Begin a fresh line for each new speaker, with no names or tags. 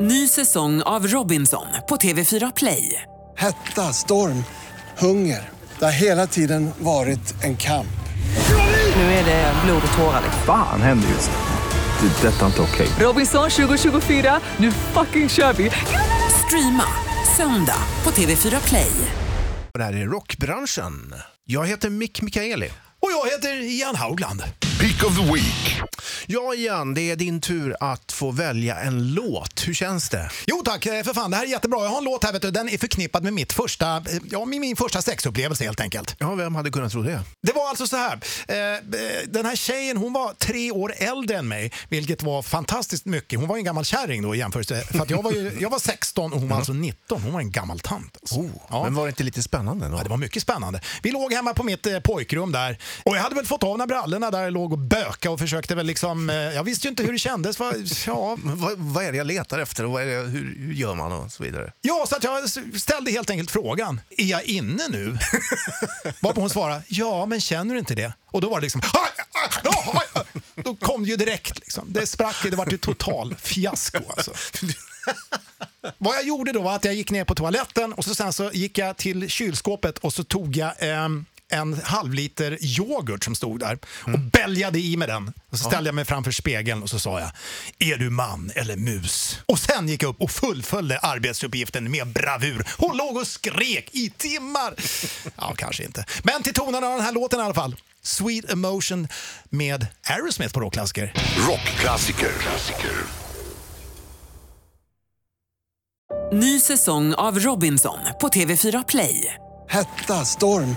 Ny säsong av Robinson på TV4 Play.
Hetta, storm, hunger. Det har hela tiden varit en kamp.
Nu är det blod och tårar.
Fan händer just nu. Det. är Detta är inte okej.
Robinson 2024, nu fucking kör vi! Streama söndag på TV4 Play.
Och det här är Rockbranschen. Jag heter Mick Mikaeli.
Och jag heter Ian Haugland.
Peak of the Week.
Ja, Ian, det är din tur att få välja en låt. Hur känns det?
Jo tack, eh, för fan det här är jättebra. Jag har en låt här vet du, den är förknippad med mitt första, eh, ja min, min första sexupplevelse helt enkelt.
Ja, vem hade kunnat tro det?
Det var alltså så här, eh, eh, den här tjejen hon var tre år äldre än mig, vilket var fantastiskt mycket. Hon var ju en gammal kärring då i jämförelse, för att jag var, ju, jag var 16 och hon var alltså 19. Hon var en gammal tant. Alltså. ja.
Oh, Men var det inte lite spännande? Då?
Ja, det var mycket spännande. Vi låg hemma på mitt eh, pojkrum där och jag hade väl fått av mig brallorna där jag låg och böka och försökte väl liksom, eh, jag visste ju inte hur det kändes. Va, ja,
Men Vad, vad är det jag letar efter och vad är det, hur, hur gör man och så vidare?
Ja, så att jag ställde helt enkelt frågan, är jag inne nu? Varpå hon svarade, ja men känner du inte det? Och då var det liksom, "Aj, aj, aj, aj." då kom det ju direkt. Liksom. Det sprack ju, det var ju total fiasko alltså. Vad jag gjorde då var att jag gick ner på toaletten och så sen så gick jag till kylskåpet och så tog jag ehm, en halv liter yoghurt som stod där och bälgade i med den. Och så ställde jag mig framför spegeln och så sa jag “Är du man eller mus?” Och sen gick jag upp och fullföljde arbetsuppgiften med bravur. Hon låg och skrek i timmar! Ja, kanske inte. Men till tonen av den här låten i alla fall. Sweet Emotion med Aerosmith på rockklassiker.
Rockklassiker. Klassiker.
Ny säsong av Robinson på TV4 Play.
Hetta, storm,